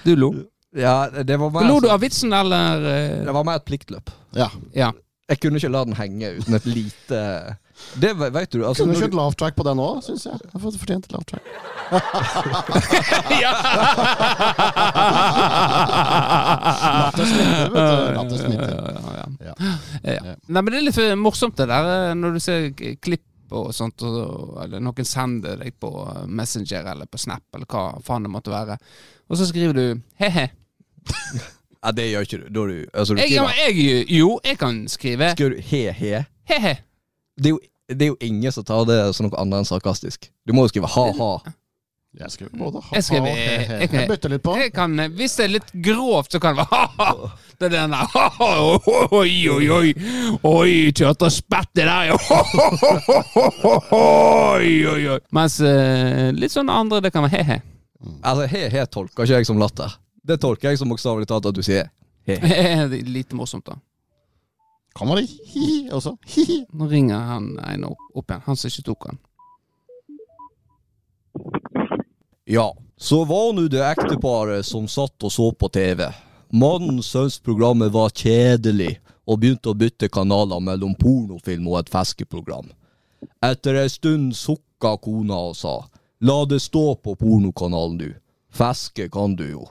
A: Du lo.
B: Ja, det var
A: Lo du
B: mer,
A: av vitsen, eller? eh,
B: det var mer et pliktløp.
C: Ja.
A: Ja.
B: Jeg kunne ikke la den henge uten et lite Det ve- vet du. Altså,
C: Kunne
B: når
C: kjørt
B: du
C: laugh track på den òg, syns jeg. Jeg har fått fortjent laugh track. Latter smitter, vet du. Latter smitter.
A: Ja, ja, ja.
C: Ja.
A: Eh, ja. Nei, men det er litt eh, morsomt det der eh, når du ser k- klipp og sånt, og, eller noen sender deg på eh, Messenger eller på Snap eller hva faen det måtte være, og så skriver du he-he.
B: Ja, det gjør ikke du. Da du altså, du
A: Jeg,
B: skriver,
A: jeg, jo, jeg kan skrive
B: skriver du he-he.
A: he-he.
B: Det, er jo- det er jo ingen som tar det som noe annet enn sarkastisk. Du må jo skrive ha-ha.
C: Jeg skriver både ha-ha
A: Jeg skriver-
C: og he-he.
A: jeg-
C: Jeg bytter litt på.
A: Jeg kan, eh, hvis det er litt grovt, så kan det være ha-ha. Det er den der ha-ha, oi, oi, oi. Oi, kjørte og spette der, ja. Oi, oi, oi. Mens eh, litt sånn andre, det kan være he-he.
B: Altså, he-he tolker ikke jeg som latter. Det tolker jeg som bokstavelig talt at du sier he-he.
A: Det er Lite morsomt, da.
C: Kan man det hi-hi også? Hi-hi.
A: Nå ringer han ene opp, opp igjen, han som ikke tok han.
B: Ja, så var nå det ekteparet som satt og så på TV. Mannen syntes programmet var kjedelig, og begynte å bytte kanaler mellom pornofilm og et feskeprogram. Etter ei stund sukka kona og sa, la det stå på pornokanalen du, feske kan du jo.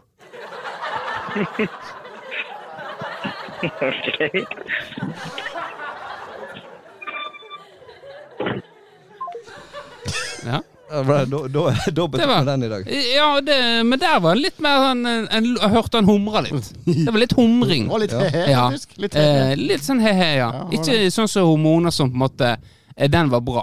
A: Ja,
B: Da
A: det var, ja det, men der var det litt mer sånn en, en, Jeg hørte han humre litt. Det var litt humring.
C: Det var litt he-he,
A: Ja.
C: faktisk. Litt he-he.
A: Eh, litt sånn he-he, ja.
C: Ja, var
A: Ikke sånn som hormoner som på en måte eh, Den var bra.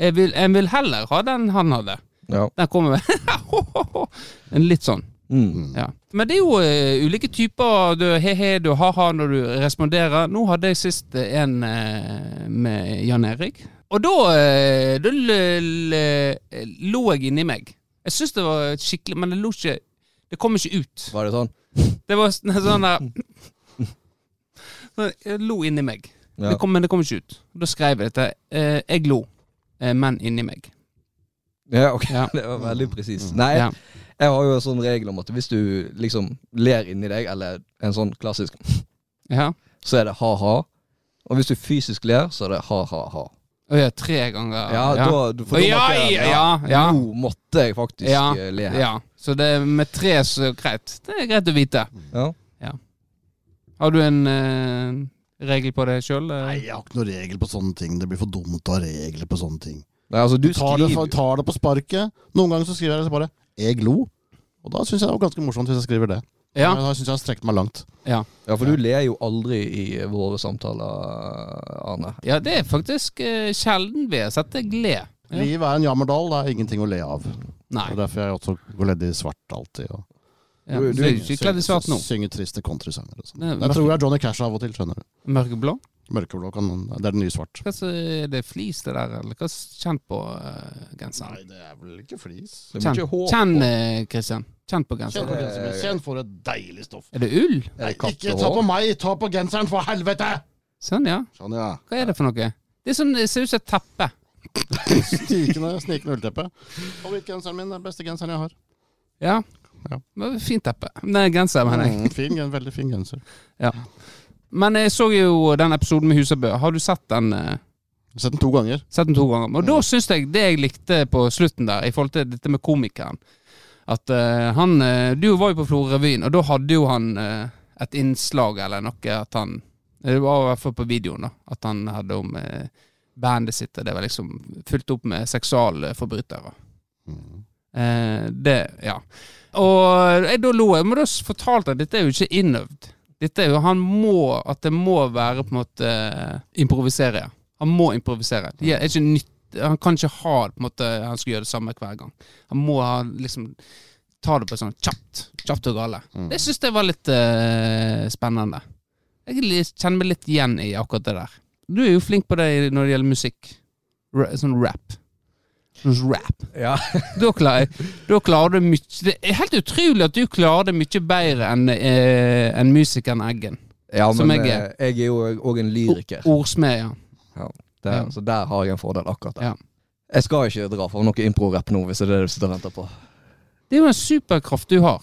A: Jeg vil, jeg vil heller ha den han hadde.
B: Ja.
A: Den kommer med En Litt sånn.
B: Mm.
A: Ja. Men det er jo eh, ulike typer du he-he, du ha-ha når du responderer. Nå hadde jeg sist eh, en eh, med Jan Erik. Og da, eh, da l- l- lo jeg inni meg. Jeg syns det var skikkelig Men det lo ikke Det kom ikke ut.
B: Var det sånn?
A: Det var sånn sånn der Sånn, Jeg lo inni meg. Det
B: Ja.
A: kom, men det kom ikke ut. Da skrev jeg dette. Eh, jeg lo, eh, men inni meg.
B: Ja, ok. Mm.
A: Ja.
B: Det var veldig presis. Nei,
A: Ja.
B: jeg har jo en sånn regel om at hvis du liksom ler inni deg, eller en sånn klassisk
A: ja.
B: så er det ha-ha. Og hvis du fysisk ler, så er det ha-ha-ha.
A: Å ja, tre ganger.
B: Ja, da- du- for da
A: ja,
B: måtte
A: ja,
B: jeg-
A: ja, ja,
B: Nå måtte jeg faktisk
A: ja,
B: eh, le. her.
A: ja. Så det er med tre så er det greit. Det er greit å vite.
B: Ja.
A: Har du en eh, regel på det sjøl?
C: Nei, jeg har ikke noen regel på sånne ting. Det blir for dumt å ha regler på sånne ting.
B: Nei, altså, du
C: tar det,
B: skriver
C: tar det på sparket. Noen ganger så skriver jeg bare 'jeg lo'. Og da syns jeg det var ganske morsomt hvis jeg skriver det.
A: Ja,
C: Men Da syns jeg jeg har strekt meg langt.
A: ja.
B: Ja, for du ler jo aldri i eh, våre samtaler, eh, Arne.
A: ja, det er faktisk eh, sjelden vi har sett deg le. Ja.
C: Livet er en jammerdal, det er ingenting å le av. Det
A: Nei.
C: er derfor jeg også går ledd i svart alltid. Og
A: Ja.
B: Du-
A: Du,
B: du-
A: er ikke kledd i svart nå.
C: Synger triste countrysanger og sånn.
A: Nei,
C: Jeg
A: mørke-
C: tror jeg er Johnny Cash av og til, skjønner du.
A: Mørkeblå?
C: Mørkeblå kan Det er den nye svart.
A: Hva så er det flis det der, eller hva s- kjenn på uh, genseren?
C: Nei, det er vel ikke flis.
B: Det er
A: Kjenn,
B: mye hår.
A: kjenn eh, Christian. Kjenn på
C: Kjenn
A: genseren.
C: på genseren min. Kjenn for et deilig stoff.
A: Er det ull?
B: Er
C: Nei,
B: det katt
C: ikke
B: og
C: ta
B: hår?
C: på meg, ta på genseren, for helvete!
A: Sånn, ja.
C: Sånn, ja.
A: Hva er det for noe? Det er sånn, det ser ut som et teppe.
C: Snikende, snikende ullteppe. Favorittgenseren min, den beste genseren jeg har.
A: Ja.
C: Ja.
A: Men Fint teppe. Nei, genser, mener jeg.
C: Mm, fin, gen- veldig fin genser.
A: Ja. Men jeg så jo den episoden med Husabø. Har du sett den? eh,
C: Jeg har sett den to ganger.
A: Sett den to ganger. Og da syns jeg det jeg likte på slutten der, i forhold til dette med komikeren At eh, han eh, Du var jo på Florø-revyen, og da hadde jo han eh, et innslag eller noe at han eh, Det var i hvert fall på videoen, da. At han hadde om eh, bandet sitt, og det var liksom fulgt opp med seksualforbrytere.
C: Mm.
A: Eh, det, ja. Og jeg, da lo jeg, men da s- fortalte jeg at dette er jo ikke innøvd. Dette er jo, han må, At det må være på en måte eh, improvisere. Han må improvisere. Det er ikke nytt, han kan ikke ha det på en måte, han skal gjøre det samme hver gang. Han må ha liksom ta det på sånn kjapt. Kjapt og gale.
C: Mm.
A: Det syns jeg var litt eh, spennende. Jeg er litt- kjenner meg litt igjen i akkurat det der. Du er jo flink på det i- når det gjelder musikk. Ra, sånn rap. Sånn rap.
B: Ja.
A: Da klarer, da klarer du mye Det er helt utrolig at du klarer det mye bedre enn eh, enn musikeren Eggen.
B: ja,
A: Som
B: men
A: jeg
B: jeg
A: er.
B: er, jeg er jo òg en lyriker.
A: Ordsmed, ja.
B: Der,
A: ja.
B: Så der har jeg en fordel, akkurat der.
A: Ja.
B: Jeg skal ikke dra for noe impro-rapp nå, hvis det er det du sitter og venter på.
A: Det er jo en superkraft du har.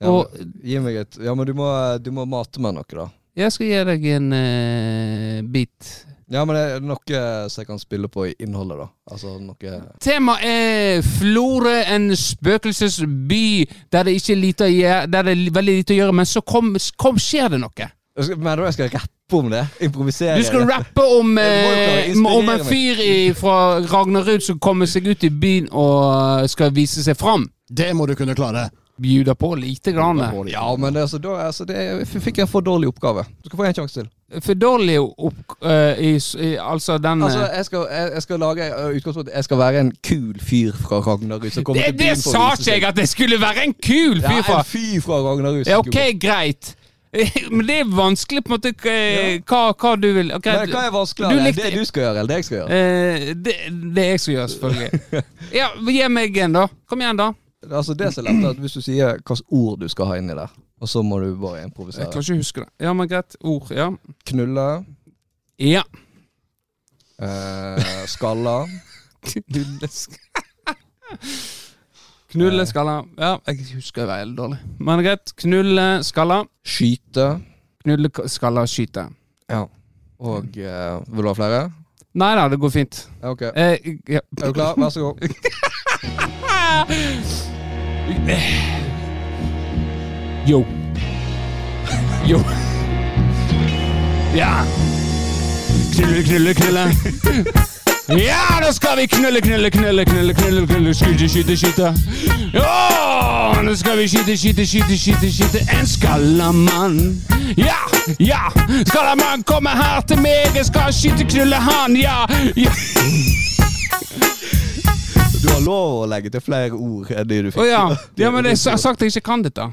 B: Ja,
A: Og-
B: men, gi meg et Ja, men du må, du må mate meg noe, da.
A: Jeg skal gi deg en eh, bit.
B: Ja, men det er noe som jeg kan spille på i innholdet, da. Altså noe
A: Temaet er Florø, en spøkelsesby der det, ikke er lite å gjøre, der det er veldig lite å gjøre, men så kom, kom, skjer det noe.
B: Jeg skal- Mener du jeg skal rappe om det? Improvisere?
A: Du skal
B: det?
A: rappe om,
B: Jeg må jo klare å
A: eh,
B: inspirere
A: om en
B: meg.
A: fyr i, fra Ragnarud som kommer seg ut i byen og skal vise seg fram.
C: Det må du kunne klare!
A: Bjuder på lite grann.
B: Ja, men det, altså, da, altså, det, jeg fikk en for dårlig oppgave. Du skal få en sjanse til.
A: For dårlig opp... eh, i, s- i, altså den
B: Altså,
A: eh,
B: jeg skal, jeg, jeg skal lage eh, utgangspunkt Jeg skal være en kul fyr fra Ragnarud som kommer
A: det,
B: til
A: det
B: byen for å
A: sa
B: vise
A: ikke jeg
B: seg.
A: at det skulle være en kul
B: Ja,
A: fyr fra!
B: en fyr fra Ragnarud. som
A: Ja,
B: skulle
A: ok, greit. Men det er vanskelig på en måte eh, hva, hva du vil Ok,
B: Men hva er vanskeligere?
A: Du likte-
B: Det du skal gjøre, eller det jeg skal gjøre?
A: Eh, det, det jeg skal gjøre, selvfølgelig. Ja, Gi meg en, da. Kom igjen, da.
B: Altså, det som er lett, er at hvis du sier hvilke ord du skal ha inni der, og så må du bare
A: Jeg
B: improvisere.
A: kan ikke huske det. Ja, men greit. Ord, ja.
B: Knulle,
A: Ja.
B: eh, skalle
A: Knullesk... Knulle, skalla. Ja, jeg husker det var veldig dårlig. Men greit. Knulle, skalla.
B: skyte
A: Knulle, skalla, skyte.
B: og eh, Vil du ha flere?
A: Nei da, det går fint.
B: Ja, ok. Er
A: Eh, ja.
B: du klar? Vær så god.
A: Yo. Yo. Ja. Knulle, knulle, knulle. Ja, nå skal vi knulle, knulle, knulle, knulle, knulle, knulle, skyte, skyte, skyte. Ja, nå skal vi skyte, skyte, skyte, skyte, skyte. En skallamann. Ja, ja. Skallamann kommer her til meg. Jeg skal skyte, knulle han. Ja, ja.
B: Du har lov å legge til flere ord enn de du fikk.
A: Å ja. ja, men jeg har sagt jeg ikke kan dette.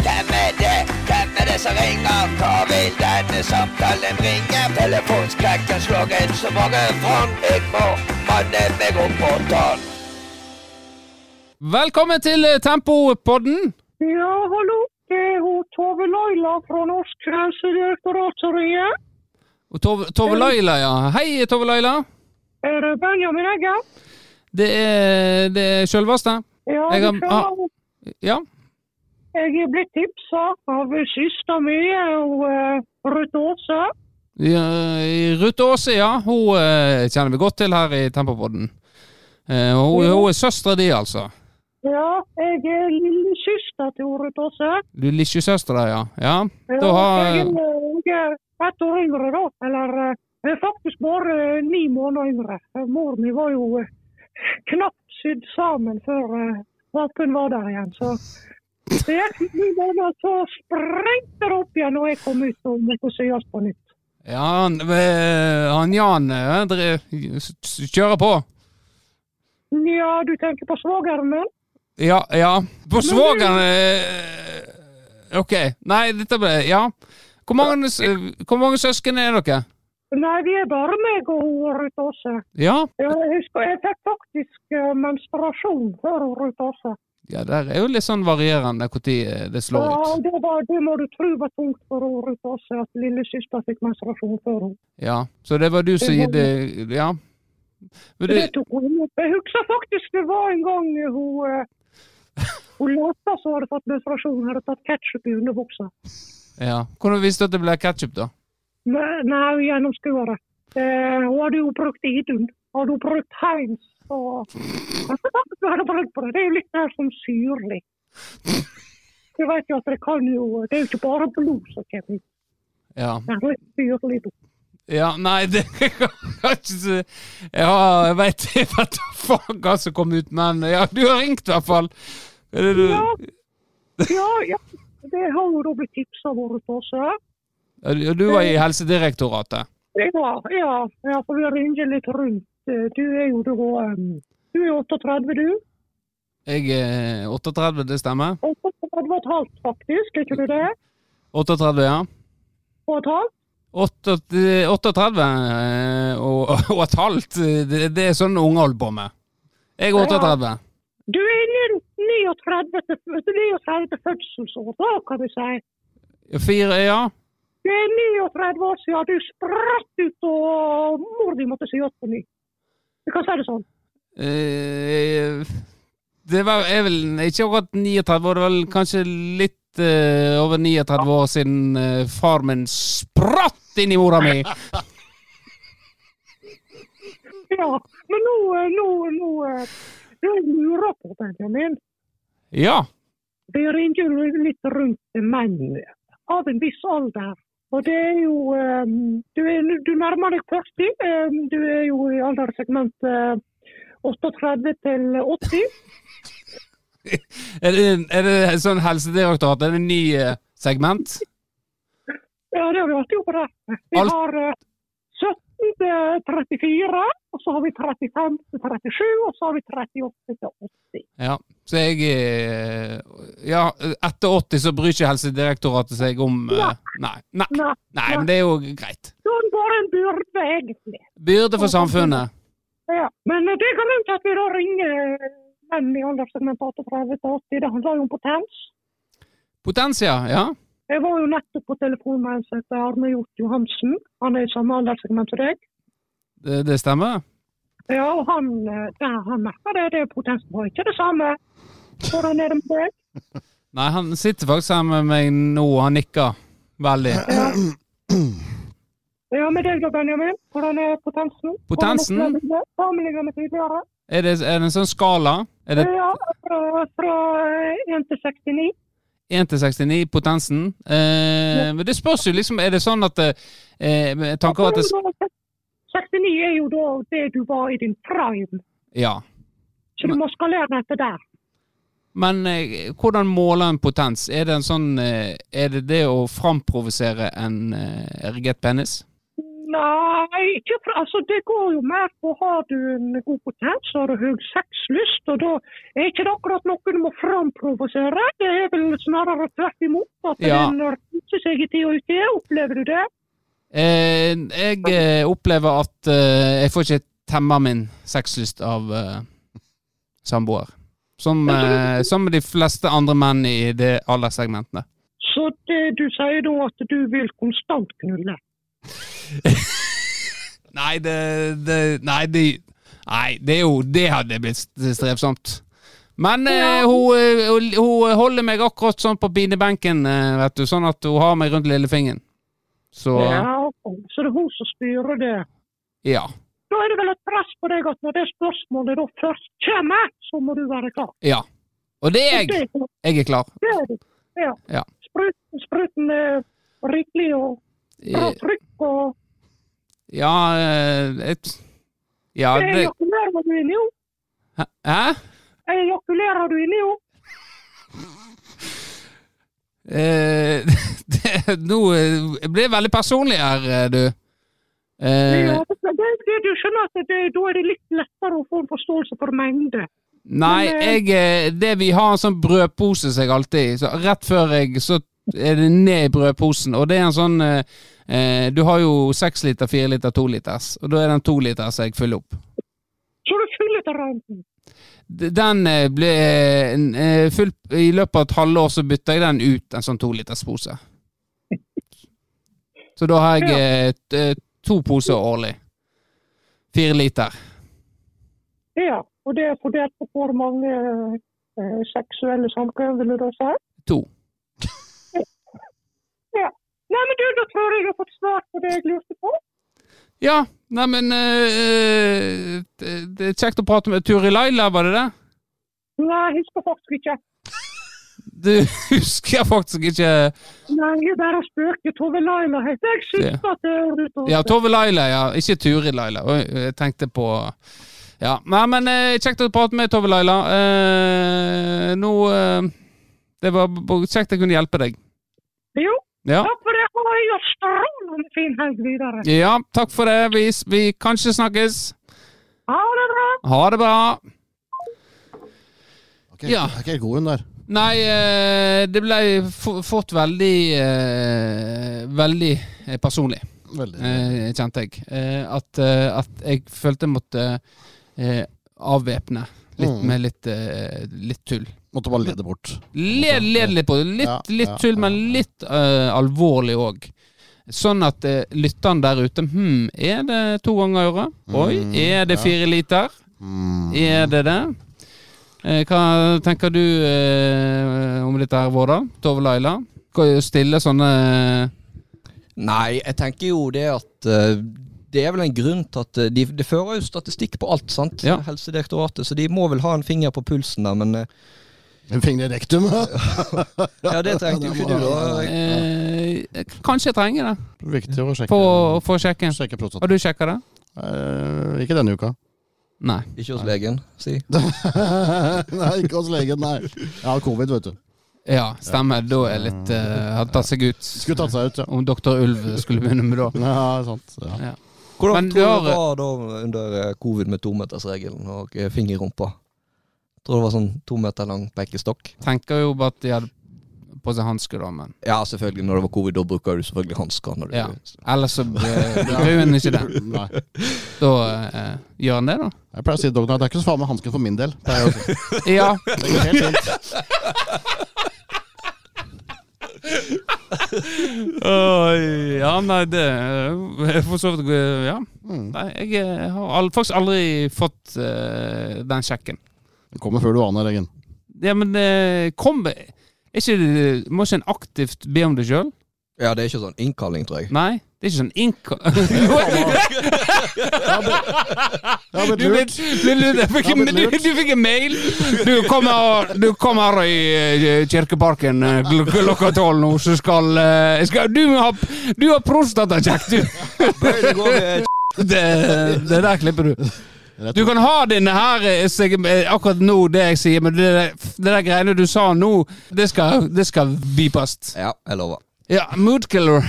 D: Hvem er det? Hvem er det som ringer? Hva vil denne samtalen bringe? Telefonskrekken slår inn så mange fram. Jeg må manne meg opp og ta den.
A: Velkommen til eh, Tempopodden.
E: Ja, hallo. Det er hun Tove Laila fra Norsk grensedirektorat som ringer.
A: Og Tove, Tove Laila, ja. Hei, Tove Laila.
E: Er det Benjamin Eggen?
A: Det er, det er sjølveste.
E: Ja,
A: Jeg har-
E: det stemmer.
A: Ja.
E: jeg er blitt tipsa av søstera mi, eh, Ruth Aase.
A: ja. eh, Ruth Aase, ja. Hun eh, kjenner vi godt til her i Tempopodden. Eh, og hun, hun er søstera di, altså.
E: Ja, jeg er lillesøster til Ruth Aase.
A: Du er lillesøstera, ja. ja.
E: Ja,
A: Da har
E: Jeg er- jeg er ett år yngre, da. Eller eh, jeg er faktisk bare eh, ni måneder yngre. Eh, Mor mi var jo eh, knapt sydd sammen før eh, valpen var der igjen. Så det gikk ni måneder, så sprengte det opp igjen når jeg kom ut og måtte syes på nytt.
A: Ja, han, eh, han Jan eh, dere- s- s- kjører på.
E: Nja, du tenker på svogeren min?
A: Ja, ja. På svogeren eh, Ok. Nei, dette ble Ja. Hvor mange, s- eh, hvor mange søsken er dere?
E: Nei, vi er bare meg og hun Ruth Aase.
A: Ja.
E: Ja, Jeg husker jeg fikk faktisk eh, menstruasjon før hun Ruth Aase.
A: Ja, der er jo litt sånn varierende når det slår
E: Ja,
A: ut.
E: det, var, det må du tro var tungt for henne Ruth Aase, at lillesøster fikk menstruasjon før henne.
A: Ja, Så det var du som
E: Det var-
A: gitte Ja. Men
E: Det
A: det,
E: tok hun opp. Jeg husker faktisk det var en gang hun eh, hun lata som hadde fått menstruasjon, hadde tatt ketsjup i underbuksa.
A: ja. Hvordan visste du at det ble ketsjup, da?
E: Men- Nei, hun gjennomskua det. Eh, hun hadde jo brukt Idun. Hadde hun brukt Heinz og Hun hadde brukt på det. Det er jo litt mer som syrlig. Du vet jo at det kan jo Det er jo ikke bare blod som kommer ut.
A: Ja.
E: Det er litt syrlig blod.
A: Ja, nei, det jeg kan ikke si Ja, jeg veit ikke faen hva som kom ut, men ja, du har ringt i hvert fall. Er det du?
E: Ja. Ja, ja. Det har jo da blitt tipsa våre på seg.
A: Ja, du- du var i Helsedirektoratet.
E: Ja, ja, ja, for vi ringer litt rundt. Eh, Du er jo da em, Du er 38, du?
A: Jeg er 38, det stemmer?
E: 38 og et halvt, faktisk. Er ikke du det?
A: 38, ja.
E: Og et halvt?
A: 38 eh, og, og et halvt, det, det er sånn unge holder på med. Jeg er 38.
E: Du er nyn- 39 til- 39 til fødselsår, da, kan du si.
A: Fire, ja.
E: Det er 39 år siden du spratt ut og mor di måtte si opp på ny. Vi kan si det sånn.
A: Eh, Det var, er vel ikke akkurat 39 år, det var vel kanskje litt eh, over 39 år siden eh, far min spratt inn i mora mi.
E: Ja, men nå, eh, nå, nå, eh, nå lurer jeg på, Benjamin.
A: Ja.
E: Vi ringer jo litt rundt menn av en viss alder. Og det er jo eh, Du, er, du nærmer deg 40. eh, Du er jo i eh, alderssegmentet 38 til 80.
A: Er det, er det sånn helsedirektorat, er det en ny eh, segment?
E: Ja, det har vi alltid gjort på det. Vi
A: Alt-
E: har eh, 17 til 34, og så har vi 35 til 37, og så har vi 38 til 80.
A: Ja. Så jeg eh, Ja, etter 80 så bryr ikke Helsedirektoratet seg om eh, Nei. Nei,
E: Nei,
A: nei men det er jo greit.
E: sånn var en byrde, egentlig.
A: Byrde for samfunnet.
E: Ja. Men eh, det er grunnen til at vi da ringer eh, menn i alderssegmentet 38 til 80. Det handler jo om potens.
A: Potensia, ja.
E: Jeg var jo nettopp på telefon med en som heter Arne Hjort Johansen. Han er i samme alderssegment som deg.
A: Det, det stemmer.
E: Ja, og han, eh, ja, han merker det. Det er potens var ikke det samme. Hvordan er det med deg?
A: Nei, han sitter faktisk her med meg nå, han nikker veldig.
E: Ja, med deg da, Benjamin. Hvordan er potensen?
A: Potensen?
E: Hvordan opplever du det? Sammenlignet med tidligere?
A: Er det, er det en sånn skala? Er det
E: Ja, fra, fra eh, 1 til 69.
A: 1 til 69, potensen? Eh, men det spørs jo liksom, er det sånn at eh, eh, Tanken var at det,
E: 69 er jo da det du var i din prime,
A: Ja.
E: så du må skalere den etter der.
A: Men eh, hvordan måler en potens? Er det, en sånn, eh, er det det å framprovosere en eh, erigert penis?
E: Nei, ikke fra, altså det går jo mer på har du en god potens, har du høy sexlyst, og da er ikke det akkurat noe du må framprovosere. Det er vel snarere tvert imot. At
A: Ja.
E: den ruser seg i tid og ute. Opplever du det?
A: Eh, jeg eh, opplever at eh, jeg får ikke temma min sexlyst av eh, samboer. Som, eh, som de fleste andre menn i det alderssegmentet.
E: Så det, du sier da at du vil konstant knulle.
A: Nei, det, det Nei, det, nei, det er jo Det hadde blitt strevsomt. Men eh, hun, eh, hun, hun holder meg akkurat sånn på pinebenken, eh, vet du. Sånn at hun har meg rundt lillefingeren. Så ja.
E: Ja, ok. så det er hun som styrer det.
A: ja.
E: Da er det vel et press på deg at når det spørsmålet da først kommer, så må du være klar.
A: Og det er
E: Og
A: jeg.
E: det-
A: Jeg er klar.
E: Det er det. Ja.
A: Ja.
E: Spruten, spruten er rikelig og bra
A: Eh,
E: trykk og
A: Ja, eh, et, ja
E: Jeg
A: det,
E: ejakulerer Eh, du inni henne.
A: Hæ?
E: Jeg ejakulerer du inni henne.
A: Eh, det, nå eh, blir det veldig personlig her, eh, du. Eh,
E: Ja, men det, det, du skjønner at det, da er det litt lettere å få en forståelse for mengde.
A: Nei,
E: Men, eh,
A: jeg, eh, det vi har en sånn brødpose som jeg alltid så Rett før jeg, så er det ned i brødposen. Og det er en sånn eh, eh, Du har jo seks liter, fire liter, to liters. Og da er den to liters jeg fyller opp.
E: Så du fyller til randen.
A: D- Den eh, ble eh, en, eh, fylt I løpet av et halvår så bytta jeg den ut, en sånn to liters pose. Så da har jeg eh, t- eh, to poser årlig. Fire liter.
E: Ja, og det er fordelt på hvor mange eh, seksuelle samkvem, vil du da si?
A: To.
E: Nei, men du, da tror jeg jeg har fått svar på det jeg lurte på.
A: Ja, neimen eh, det, det er kjekt å prate med Turi Laila, var det det?
E: Nei, jeg husker faktisk ikke.
A: Du husker faktisk ikke
E: Nei, jeg bare spøker. Tove Laila heter jeg. Syns at eh, det høres ut som
A: Ja, Tove Laila, ja. Ikke Turid Laila. Oi, Jeg tenkte på Ja. Nei, men eh, kjekt å prate med Tove Laila. Eh, nå eh, Det var b- kjekt jeg kunne hjelpe deg.
E: Jo,
A: Ja.
E: takk for det. Ha en strålende fin helg videre.
A: ja, takk for det. Vi, s- vi kanskje snakkes.
E: Ha det bra.
A: Ha det bra.
C: Ok,
A: Ja.
C: Jeg er ikke helt god hun der.
A: Nei, eh, det ble f- fort veldig eh, Veldig eh, personlig,
C: Veldig.
A: eh, kjente jeg. Eh, At, eh, at jeg følte jeg måtte eh, avvæpne litt
C: Mm.
A: med litt, eh, litt tull.
C: Måtte bare lede bort.
A: Led, led litt på det. Litt,
C: Ja,
A: litt
C: ja,
A: tull,
C: ja,
A: men
C: ja.
A: litt eh, alvorlig òg. Sånn at eh, lytteren der ute Hm, er det to ganger i året? Oi,
C: Mm,
A: er det
C: ja.
A: fire liter?
C: Mm.
A: Er det det? Eh, Hva tenker du eh, om dette her, Vårdal? Tove Laila? Skal jo stille sånne
B: Nei, jeg tenker jo det at eh, det er vel en grunn til at eh, de, de fører jo statistikk på alt, sant?
A: Ja.
B: Helsedirektoratet, så de må vel ha en finger på pulsen der, men eh,
C: En finger i rektum.
B: Ja, det trengte jo ikke du, da.
A: eh, Kanskje jeg trenger det
C: Viktig å sjekke.
A: på, for å sjekke.
C: Sjekke prostata.
A: Har du sjekka det?
C: Eh, ikke denne uka.
A: Nei.
B: Ikke hos legen, si.
C: nei, ikke hos legen, nei. Jeg har covid, vet du.
A: Ja, stemmer. Da er jeg litt eh, Har tatt seg ut.
C: Skulle tatt seg ut, ja.
A: Om doktor Ulv skulle begynne med det.
C: Ja, sant. Ja.
A: Men
B: Hvordan
A: du
B: tror du det
A: har-
B: var da under eh, covid med tometersregelen og eh, finger i rumpa? Tror det var sånn to meter lang pekestokk?
A: Tenker jo bare at de hadde på seg hansker, da, men
B: Ja, selvfølgelig. Når det var covid, da bruker du selvfølgelig hansker. når du-
A: Ja. ellers så eh, gjør en ikke det.
C: Nei.
A: Da eh, gjør en det, da.
C: Jeg pleier å si til doktoren at det er ikke så farlig med hansken for min del. Det er jo
A: Ja.
C: det går helt fint.
A: Oi, ja, nei, det eh, For så vidt eh, Ja.
C: Mm.
A: Nei, jeg eh, har al- faktisk aldri fått eh, den sjekken.
C: Det kommer før du aner, Eggen.
A: Ja, men eh, kom Er ikke, det- Må ikke en aktivt be om det sjøl?
B: ja, det er ikke sånn innkalling, tror jeg.
A: Nei? Det er ikke sånn innka...
C: Ja, men
A: Du
C: lurt.
A: ble, ble lurt. Jeg fikk,
C: Ja, men
A: men du,
C: lurt.
A: du fikk en mail. Du kommer, du kommer her i eh, Kirkeparken eh, kl- klokka tolv nå, så skal, eh, jeg skal Du har, du har prostatakjekk, du!
B: Det går med
A: Det, det der klipper du.
C: Rett
A: Du kan ha denne her eh, seg- eh, akkurat nå, det jeg sier, men det, der- det der greiene du sa nå, det skal, det skal beepast.
B: Ja, jeg lover.
A: Ja, moodkiller.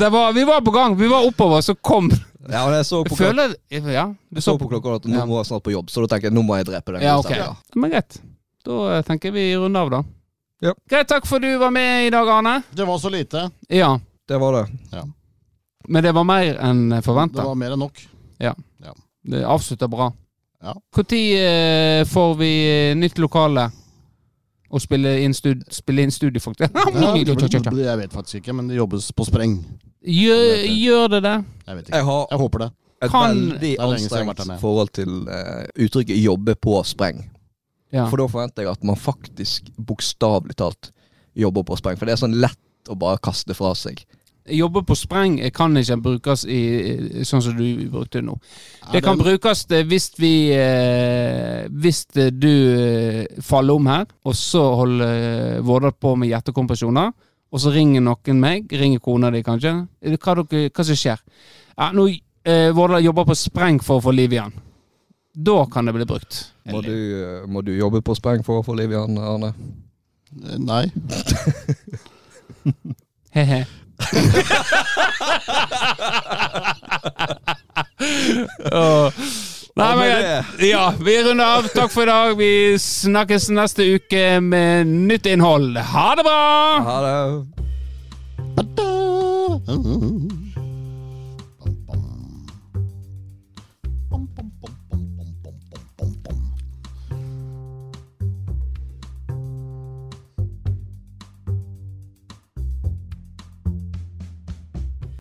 A: Det var, vi var på gang. Vi var oppover, så kom
B: Ja, men jeg så på,
A: Jeg
B: klok
A: føler Ja, du
B: jeg
A: så
B: så på
A: på
B: klokka at nå må jeg snart på jobb, så da tenker jeg nå må jeg drepe den.
A: Ja, ok.
B: godstanden.
A: Men greit. Da eh, tenker jeg vi runder av, da.
B: Ja.
A: Greit, takk for du var med i dag, Arne.
C: Det var så lite.
A: Ja,
B: Det var det.
A: men det var mer enn
C: Det
A: forventa.
C: var mer enn nok.
A: Det avslutta bra.
C: Ja.
A: Når eh, får vi eh, nytt lokale og spille inn, stud spille inn studio, faktisk?
C: Jeg vet faktisk ikke, men det jobbes på spreng.
A: Gjør, gjør det det?
C: Jeg vet ikke.
B: Jeg har
C: Jeg håper det.
B: et
A: Kan-
B: veldig
C: Det er lenge siden jeg har vært der
B: anstrengt
C: nede.
B: forhold til eh, uttrykket 'jobbe på spreng'.
A: Ja.
B: For da forventer jeg at man faktisk bokstavelig talt jobber på spreng. For det er sånn lett å bare kaste fra seg.
A: Jobbe på spreng eh, kan ikke brukes i, i- sånn som du brukte nå. Det
C: det-
A: kan brukes eh, hvis vi eh, Hvis eh, du eh, faller om her, og så holder eh, Vårdal på med hjertekompresjoner, og så ringer noen meg, ringer kona di kanskje. Eh, Hva, dere, hva som skjer? Ja, nå eh, Vårdal jobber på spreng for å få liv i han. Da kan det bli brukt.
B: Må du, eh, må du jobbe på spreng for å få liv i han, Arne?
C: Nei.
A: Hehe. Åh. Nei,
B: Ja,
A: men,
B: med
A: greit. ja, vi runder av. Takk for i dag. Vi snakkes neste uke med nytt innhold. Ha det bra!
B: Ha det.
C: Mm, mm, mm.